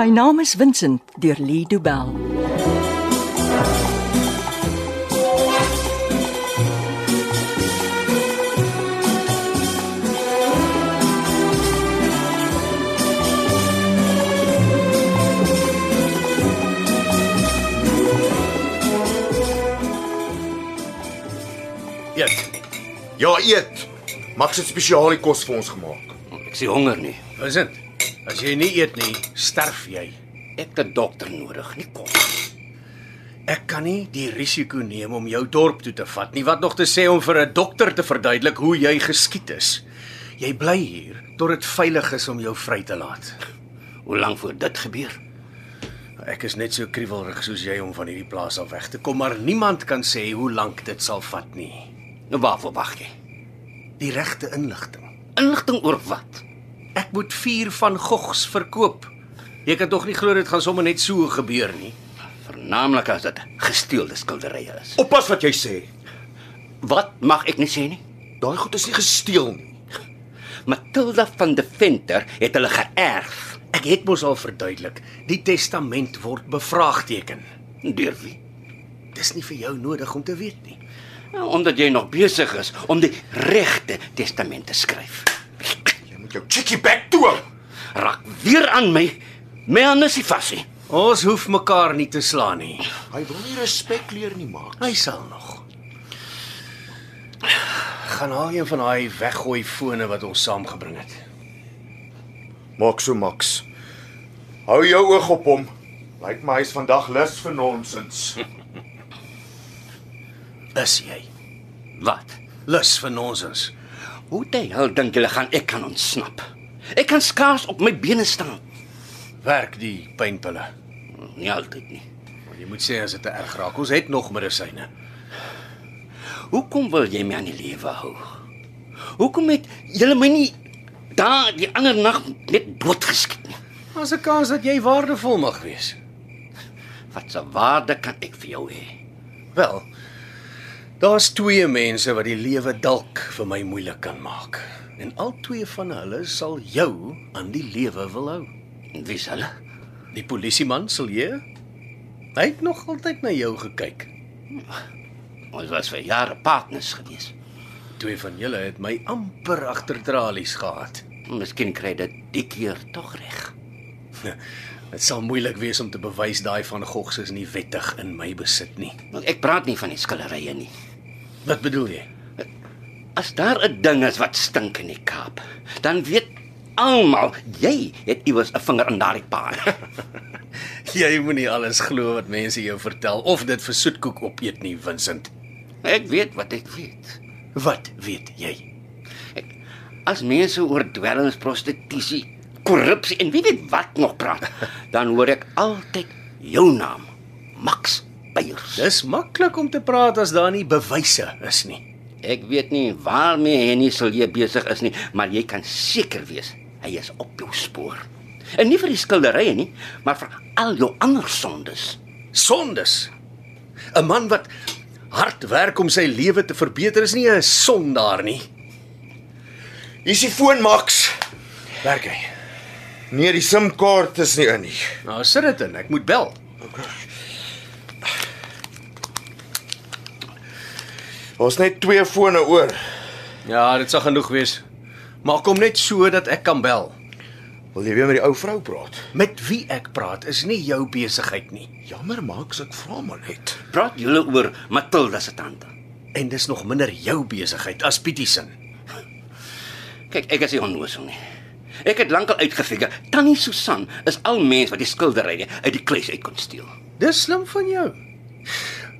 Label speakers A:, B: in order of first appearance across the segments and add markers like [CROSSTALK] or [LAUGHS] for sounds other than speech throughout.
A: My naam is Vincent deur Lee Du Bell.
B: Eet. Ja, eet. Max het spesiale kos vir ons gemaak.
C: Ek sien honger nie.
D: Vincent, as jy nie eet nie, sterf jy.
C: Ek het 'n dokter nodig, nie kom.
D: Ek kan nie die risiko neem om jou dorp toe te vat nie, wat nog te sê om vir 'n dokter te verduidelik hoe jy geskiet is. Jy bly hier tot dit veilig is om jou vry te laat.
C: Hoe lank voor dit gebeur?
D: Ek is net so kriewelrig soos jy om van hierdie plaas af weg te kom, maar niemand kan sê hoe lank dit sal vat nie.
C: Nou waarvoor wag jy?
D: Die regte inligting.
C: Inligting oor wat?
D: Ek moet 4 van Gogs verkoop. Jy kan tog nie glo dit gaan sommer net so gebeur nie.
C: Vernaamlik as dit gesteelde skilderye is.
B: Oppas wat jy sê.
C: Wat mag ek nie sê nie?
B: Daai goed is nie gesteel nie.
C: Matilda van de Venter het hulle geërf.
D: Ek het mos al verduidelik, die testament word bevraagteken.
C: Deur wie?
D: Dis nie vir jou nodig om te weet nie.
C: Nou, Omdat jy nog besig is om die regte testament te skryf.
B: Jy moet jou chickie back toe. hou.
C: Raak weer aan my. My anders is vasie.
D: Ons hoef mekaar nie te slaan nie.
B: Hy wil nie respek leer nie, Max.
D: Hy sal nog. Gaan haal een van daai weggooi fone wat ons saamgebring het.
B: Maak so, Max. Hou jou oog op hom. Lyk my hy's vandag lus vir nonsens.
D: Is jy?
C: Wat?
D: Lus vir nonsens.
C: Hoe die hel dink julle gaan ek kan ontsnap? Ek kan skaars op my bene staan. Hm,
D: Werk die pynpille.
C: Nie altyd nie.
D: Maar jy moet sê as dit te erg raak. Ons het nog medisyne.
C: Hoekom wil jy my aan die lewe hou? Hoekom het julle my nie daar die ander nag net doodgeskiet nie?
D: Daar's 'n kans dat jy waardevol mag wees.
C: Wat 'n waarde kan ek vir jou hê?
D: Wel. Daar's twee mense wat die lewe dalk vir my moeilik kan maak. En al twee van hulle sal jou aan die lewe wil hou.
C: En wie is hulle?
D: Die polisieman sal jy. Hy het nog altyd na jou gekyk.
C: Ons was vir jare partners gewees.
D: Twee van julle het my amper agter tralies gehad.
C: Miskien kry dit die keer tog reg.
D: Dit sal moeilik wees om te bewys daai van Gogs is nie wettig in my besit nie.
C: Want ek praat nie van die skillerye nie.
D: Wat bedoel jy?
C: As daar 'n ding is wat stink in die Kaap, dan weet almal jy het iewers 'n vinger in daardie paai. [LAUGHS]
D: Jy moenie alles glo wat mense jou vertel of dit vir soetkoek opeet nie, Vincent.
C: Ek weet wat ek weet.
D: Wat weet jy?
C: Ek, as mense oor dwelms, prostitusie, korrupsie en wie weet wat nog [LAUGHS] praat, dan hoor ek altyd jou naam, Max Beyers.
D: Dis maklik om te praat as daar nie bewyse is nie.
C: Ek weet nie waarmee Henny Silje besig is nie, maar jy kan seker wees hy is op jou spoor. En nie vir die skilderye nie, maar vir al jou ander sondes.
D: Sondes. 'n Man wat hard werk om sy lewe te verbeter is nie 'n sondaar nie.
B: Hier's die foon, Max.
D: Werk hy?
B: Nee, die SIM-kaart is nie in nie.
D: Nou sit dit in, ek moet bel.
B: Daar's net twee fone oor.
D: Ja, dit sal genoeg wees. Maar kom net so dat ek kan bel.
B: Wil jy weer met die ou vrou praat?
D: Met wie ek praat is nie jou besigheid nie.
B: Jammer, Max, ek vra maar net.
C: Praat julle oor Matilda se tante.
D: En dis nog minder jou besigheid as Pietie se.
C: Kyk, ek is nie onnoosel nie. Ek het lankal uitgefigure, Tannie Susan is al mens wat die skilderye uit die kluis uit kon steel.
D: Dis slim van jou.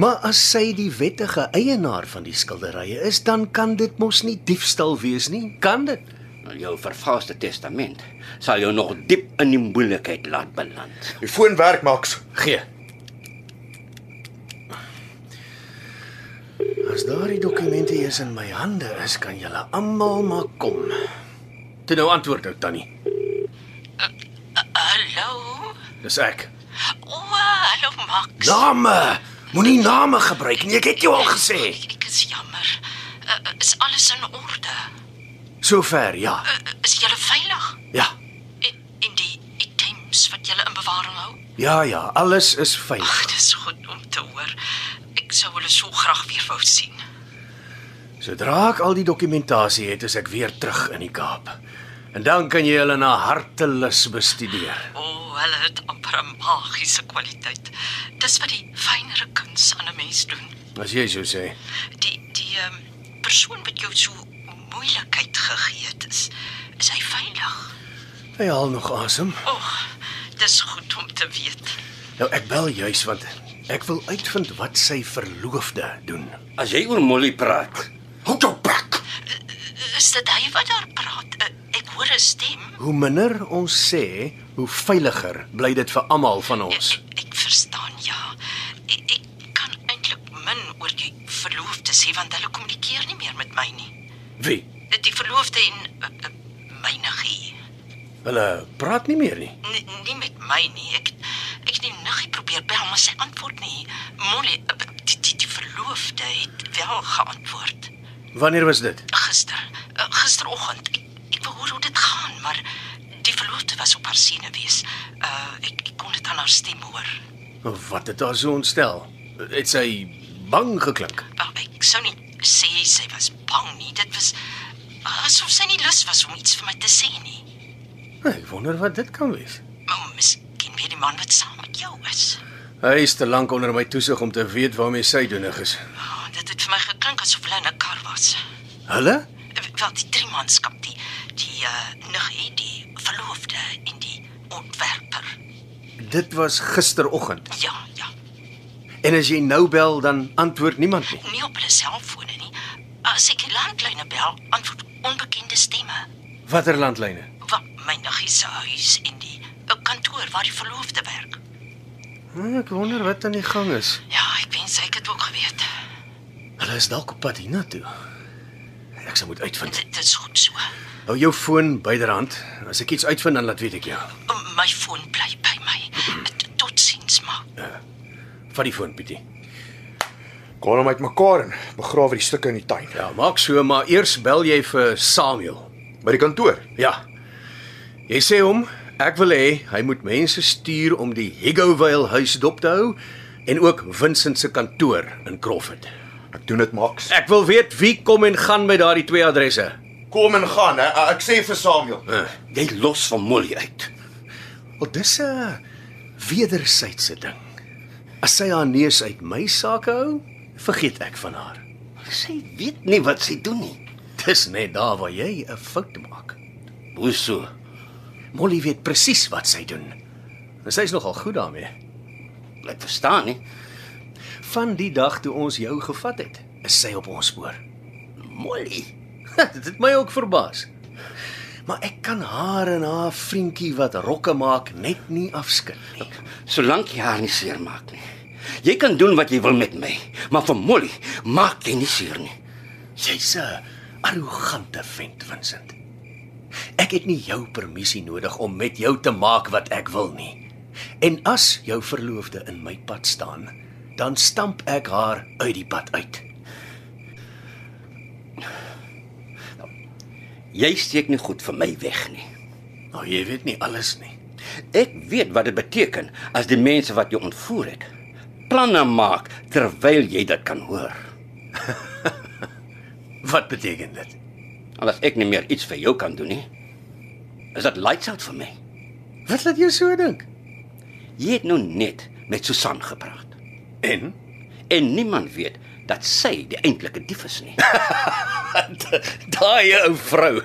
D: Maar as sy die wettige eienaar van die skilderye is, dan kan dit mos nie diefstal wees nie. Kan dit?
C: Nou, Jou vervalste testament sal jou nog diep in die moeilikheid laat beland.
B: Die foon werk, Max.
D: Gee. As daardie dokumente eers in my hande is, kan julle almal maar kom. Toe nou antwoord ou tannie.
E: Hallo.
D: Dis ek.
E: O, hallo Max.
D: Nou, Name. Moenie name gebruik nie. Ek het jou al gesê.
E: Eh, Ek is jammer. Uh, is alles in orde?
D: Sover, ja.
E: Uh, is jy veilig?
D: Ja.
E: En, en die items items wat julle in bewaring hou? [LAUGHS]
D: Ja ja, alles is veilig.
E: Ag, dis goed om te hoor. Ek sou hulle so graag weer wou sien.
D: Sodra ek al die dokumentasie het, is ek weer terug in die Kaap. En dan kan jy hulle na hartelus bestudeer.
E: O, oh, hulle het amper 'n magiese kwaliteit. Dis wat die fynere kuns aan 'n mens doen.
D: As jy so sê.
E: Die die ehm persoon wat jou so moeilikheid gegee het, is is hy veilig?
D: Hy haal nog asem.
E: O, oh, dis goed om te weet.
D: Nou ek bel juis want ek wil uitvind wat sy verloofde doen.
C: As jy oor Molly praat, hou jou bek.
E: Is dit hy wat daar praat? Eh, Ek hoor 'n stem.
D: Hoe minder ons sê, hoe veiliger bly dit vir almal van
E: Ek,
D: ons.
E: ek, E-, ek verstaan ja. Ek, ek kan eintlik min oor die verloofde sê want hulle kommunikeer nie meer met my nie.
D: Wie?
E: Die verloofde en eh, eh, myne gee.
D: Hulle praat nie meer nie.
E: Nie, nie met my nie. Ek ek het die niggie probeer bel, maar sy antwoord nie. Molly, eh, die, die, die verloofde het wel geantwoord.
D: Wanneer was dit?
E: Gister, eh, gisteroggend. Ek, ek wou hoor hoe dit gaan, maar die verloofde was op haar senuwees. Uh ek, ek kon dit aan haar stem hoor.
D: Nou, Wat het haar so ontstel? Het sy bang geklink?
E: Wel, ek sou nie sê sy was bang nie. Dit was asof sy nie lus was om iets vir my te sê nie.
D: Ek wonder wat dit kan wees.
E: Maar miskien weet die man wat saam met jou is.
D: Hy is te lank onder my toesig om te weet waarmee sy doenig is.
E: Oh, dit het vir my geklink asof hulle in 'n kar was.
D: Hulle?
E: Eh, Wel, die drie manskap, die die uh niggie, die verloofde en die ontwerper.
D: Dit was gisteroggend.
E: Ja, ja.
D: En as jy nou bel, dan antwoord niemand nie.
E: nie op hulle selfone nie. As ek die landlyne bel, antwoord onbekende stemme.
D: Watter landlyne?
E: Wat my niggie se huis en die 'n kantoor waar die verloofde werk.
D: Hm, Ek wonder wat aan die gang is.
E: Ja, ek wens ek het ook geweet.
D: Hulle is dalk op pad hiernatoe. Ek sal moet uitvind.
E: Dit is goed so.
D: Hou jou foon byderhand. As ek iets uitvind, dan laat weet ek jou.
E: Um, My foon bly by my. T- Totsiens, ma.
D: Vat die foon, Pietie.
B: Kom hom uitmekaar en begrawe die stukke in die tuin
D: Ja, maak so, maar eers bel jy vir Samuel.
B: by die kantoor.
D: Ja. Jy sê hom, ek wil hê hy moet mense stuur om die Higgovale huis dop te hou en ook Vincent se kantoor in Crawford.
B: Ek doen dit, Max.
D: Ek wil weet wie kom en gaan met daardie twee adresse.
B: Kom en gaan, hè. Ek sê vir Samuel.
D: Uh,
C: Jy los van Molly uit.
D: Wel dis 'n wederwysige ding. As sy haar neus uit my sake hou, vergeet ek van haar.
C: Sy weet nie wat sy doen nie.
D: Dis net daar waar jy 'n fout maak.
C: Hoe so?
D: Molly weet presies wat sy doen. En sy's nogal goed daarmee.
C: Ek verstaan nie.
D: Van die dag toe ons jou gevat het, is sy op ons spoor.
C: Molly.
D: [LAUGHS] Dit het my ook verbaas. Maar ek kan haar en haar vriendjie wat rokke maak net nie afskud nie.
C: Solank jy haar nie seermaak nie. Jy kan doen wat jy wil met my, maar vir Molly maak jy nie seer nie.
D: Jy's 'n arrogante vent, Vincent. Ek het nie jou permissie nodig om met jou te maak wat ek wil nie. En as jou verloofde in my pad staan, dan stamp ek haar uit die pad uit.
C: Jy steek nie goed vir my weg nie.
D: Nou jy weet nie alles nie.
C: Ek weet wat dit beteken as die mense wat jou ontvoer het planne maak terwyl jy dit kan hoor.
D: Wat beteken dit?
C: Al as ek nie meer iets vir jou kan doen nie, is dit lights out vir my.
D: Wat laat jou so dink?
C: Jy het nou net met Susan gepraat
D: En
C: en niemand weet dat sy die eintlike dief is nie.
D: daai ou vrou.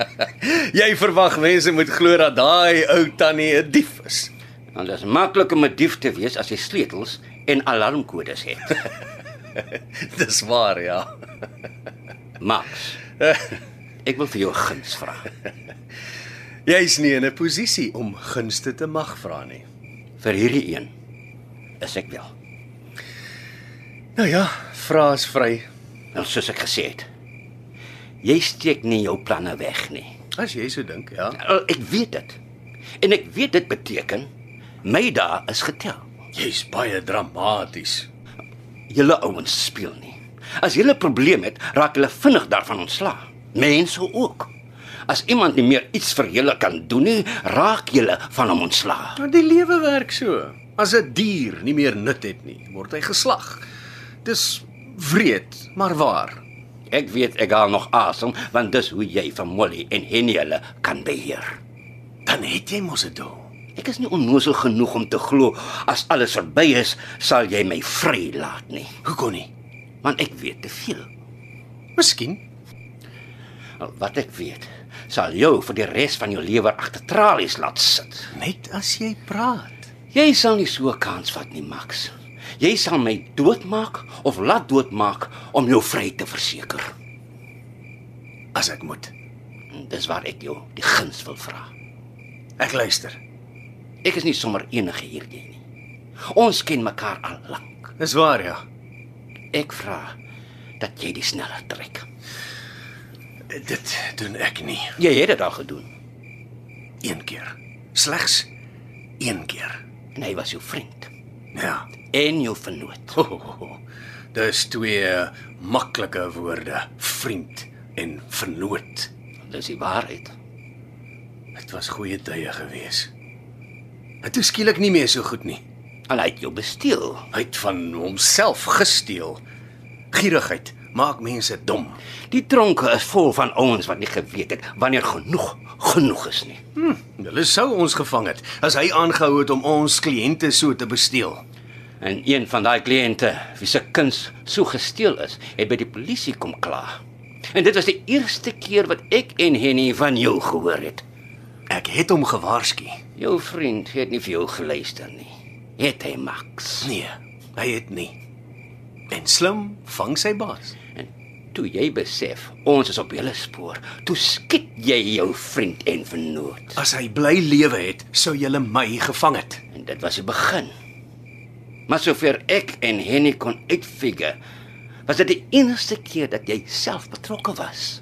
D: [LAUGHS] jy verwag mense moet glo dat daai ou tannie 'n dief is. [LAUGHS]
C: Want dit is makliker om 'n dief te wees as jy sleutels en alarmkodes het.
D: Dis waar, ja.
C: Max. Ek wil vir jou 'n guns vra.
D: Jy's nie in 'n posisie om gunste te mag vra nie.
C: Vir hierdie een is ek wel.
D: Nou ja, vra is vry.
C: Nou soos ek gesê het. Jy steek nie jou planne weg nie.
D: As jy so dink, ja.
C: Al, Ek weet dit. En ek weet dit beteken my dae is getel.
D: Jy's baie dramaties.
C: Julle ouens speel nie. As julle 'n probleem het, raak hulle vinnig daarvan ontslae. Mense ook. As iemand nie meer iets vir julle kan doen nie, raak julle van hom ontslae.
D: Maar die lewe werk so. As 'n dier nie meer nut het nie, word hy geslag. Dis wreed, maar waar.
C: Ek weet ek haal nog asem, want dis hoe jy van Molly en Henny hulle kan beheer.
D: Dan het jy mos 'n doel.
C: Ek is nie onnoosel genoeg om te glo as alles verby is, sal jy my vrylaat nie,
D: Hoe kon nie?
C: want ek weet te veel.
D: Miskien.
C: Al wat ek weet, sal jou vir die res van jou lewe agter tralies laat sit.
D: Net as jy praat.
C: Jy sal nie so 'n kans vat nie, Max. Jy sal my doodmaak of laat doodmaak om jou vryheid te verseker.
D: As ek moet.
C: En Dis waar ek jou die guns wil vra.
D: Ek luister.
C: Ek is nie sommer enige hierdie nie. Ons ken mekaar al lank.
D: Dis waar ja.
C: Ek vra dat jy die sneller trek.
D: Dit doen ek nie.
C: Jy het dit al gedoen
D: Een keer. Slegs een keer.
C: en hy was jou vriend
D: Ja.
C: en jou vernoot.
D: Ho, ho, ho. Dis twee maklike woorde, vriend en vernoot.
C: Dis die waarheid.
D: Dit was goeie tye gewees. Dit is skielik nie meer so goed nie.
C: Al hy het jou besteel.
D: Hy het van homself gesteel. Gierigheid maak mense dom.
C: Die tronke is vol van ouens wat nie geweet het wanneer genoeg genoeg is nie.
D: Hulle sou ons gevang het as hy aangehou het om ons kliënte so te besteel.
C: En een van daai kliënte wie se kuns so gesteel is, het by die polisie kom kla. En dit was die eerste keer wat ek en Henny van jou gehoor het.
D: Ek het hom gewaarsku.
C: Jou vriend het nie vir jou geluister nie. Het hy Max?
D: Nee, hy het nie. En slim vang sy baas.
C: En toe jy besef ons is op julle spoor, toe skiet jy jou vriend en vernoot.
D: As hy bly lewe het, sou julle my gevang het.
C: En dit was die begin. Maar sover ek en Henny kon uitfigure, was dit die enigste keer dat jy self betrokke was.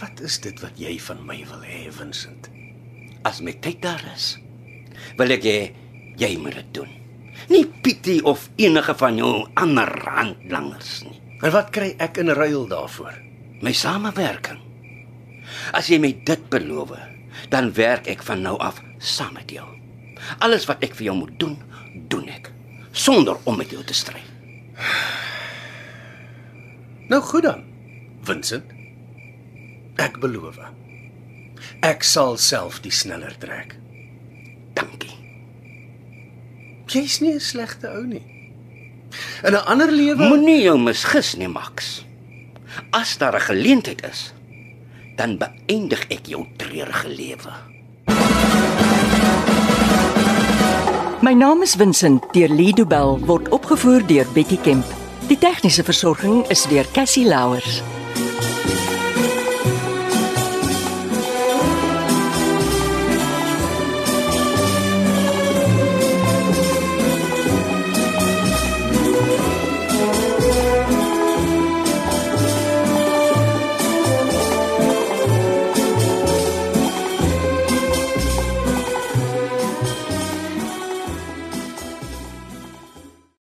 D: Wat is dit wat jy van my wil hê, Vincent?
C: As my tyd daar is, wil ek hê jy moet dit doen. Nie Pietie of enige van jou ander handlangers nie.
D: En wat kry ek in ruil daarvoor?
C: My samewerking. As jy my dit beloof, dan werk ek van nou af saam met jou. Alles wat ek vir jou moet doen, doen ek sonder om met jou te stry.
D: Nou goed dan, Vincent. Ek beloof. Ek sal self die sneller trek.
C: Dankie.
D: Jy's nie 'n slegte ou nie. In 'n ander lewe
C: Moenie jou misgis nie, Max. As daar 'n geleentheid is, dan beëindig ek jou treurige lewe.
A: My naam is Vincent deur Lido Bell word opgevoer deur Betty Kemp. Die tegniese versorging is deur Cassie Louers.